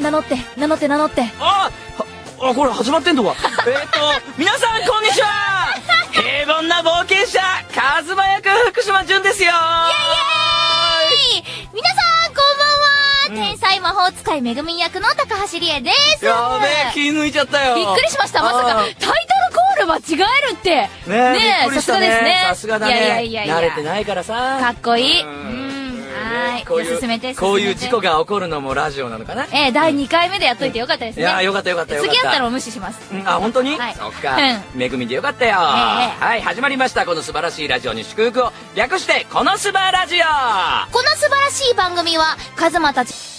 名乗って名乗って名乗ってああこれ始まって んのかえーっと皆さんこんにちは平凡な冒険者カズマ役福島純ですイよエーイ皆さんこんばんは、天才魔法使いめぐみん役の高橋理恵ですやべえ気抜いちゃったよびっくりしましたまさかあターイトルコール間違えるってねえびっくさりしすたがですねさすがだねいやいやいやいや慣れてないからさかっこいいうんうんはねいこうじゃいあう進めて進めてこういう事故が起こるのもラジオなのかなええ第2回目でやっといてよかったですねいやよかったよかったよかった次やったらお無視しますうんあ本当に、はいそっか、うめぐみでよかったよ、はい始まりましたこの素晴らしいラジオに祝福を略してこの素晴らジオこの素晴らしい番組はカズマたち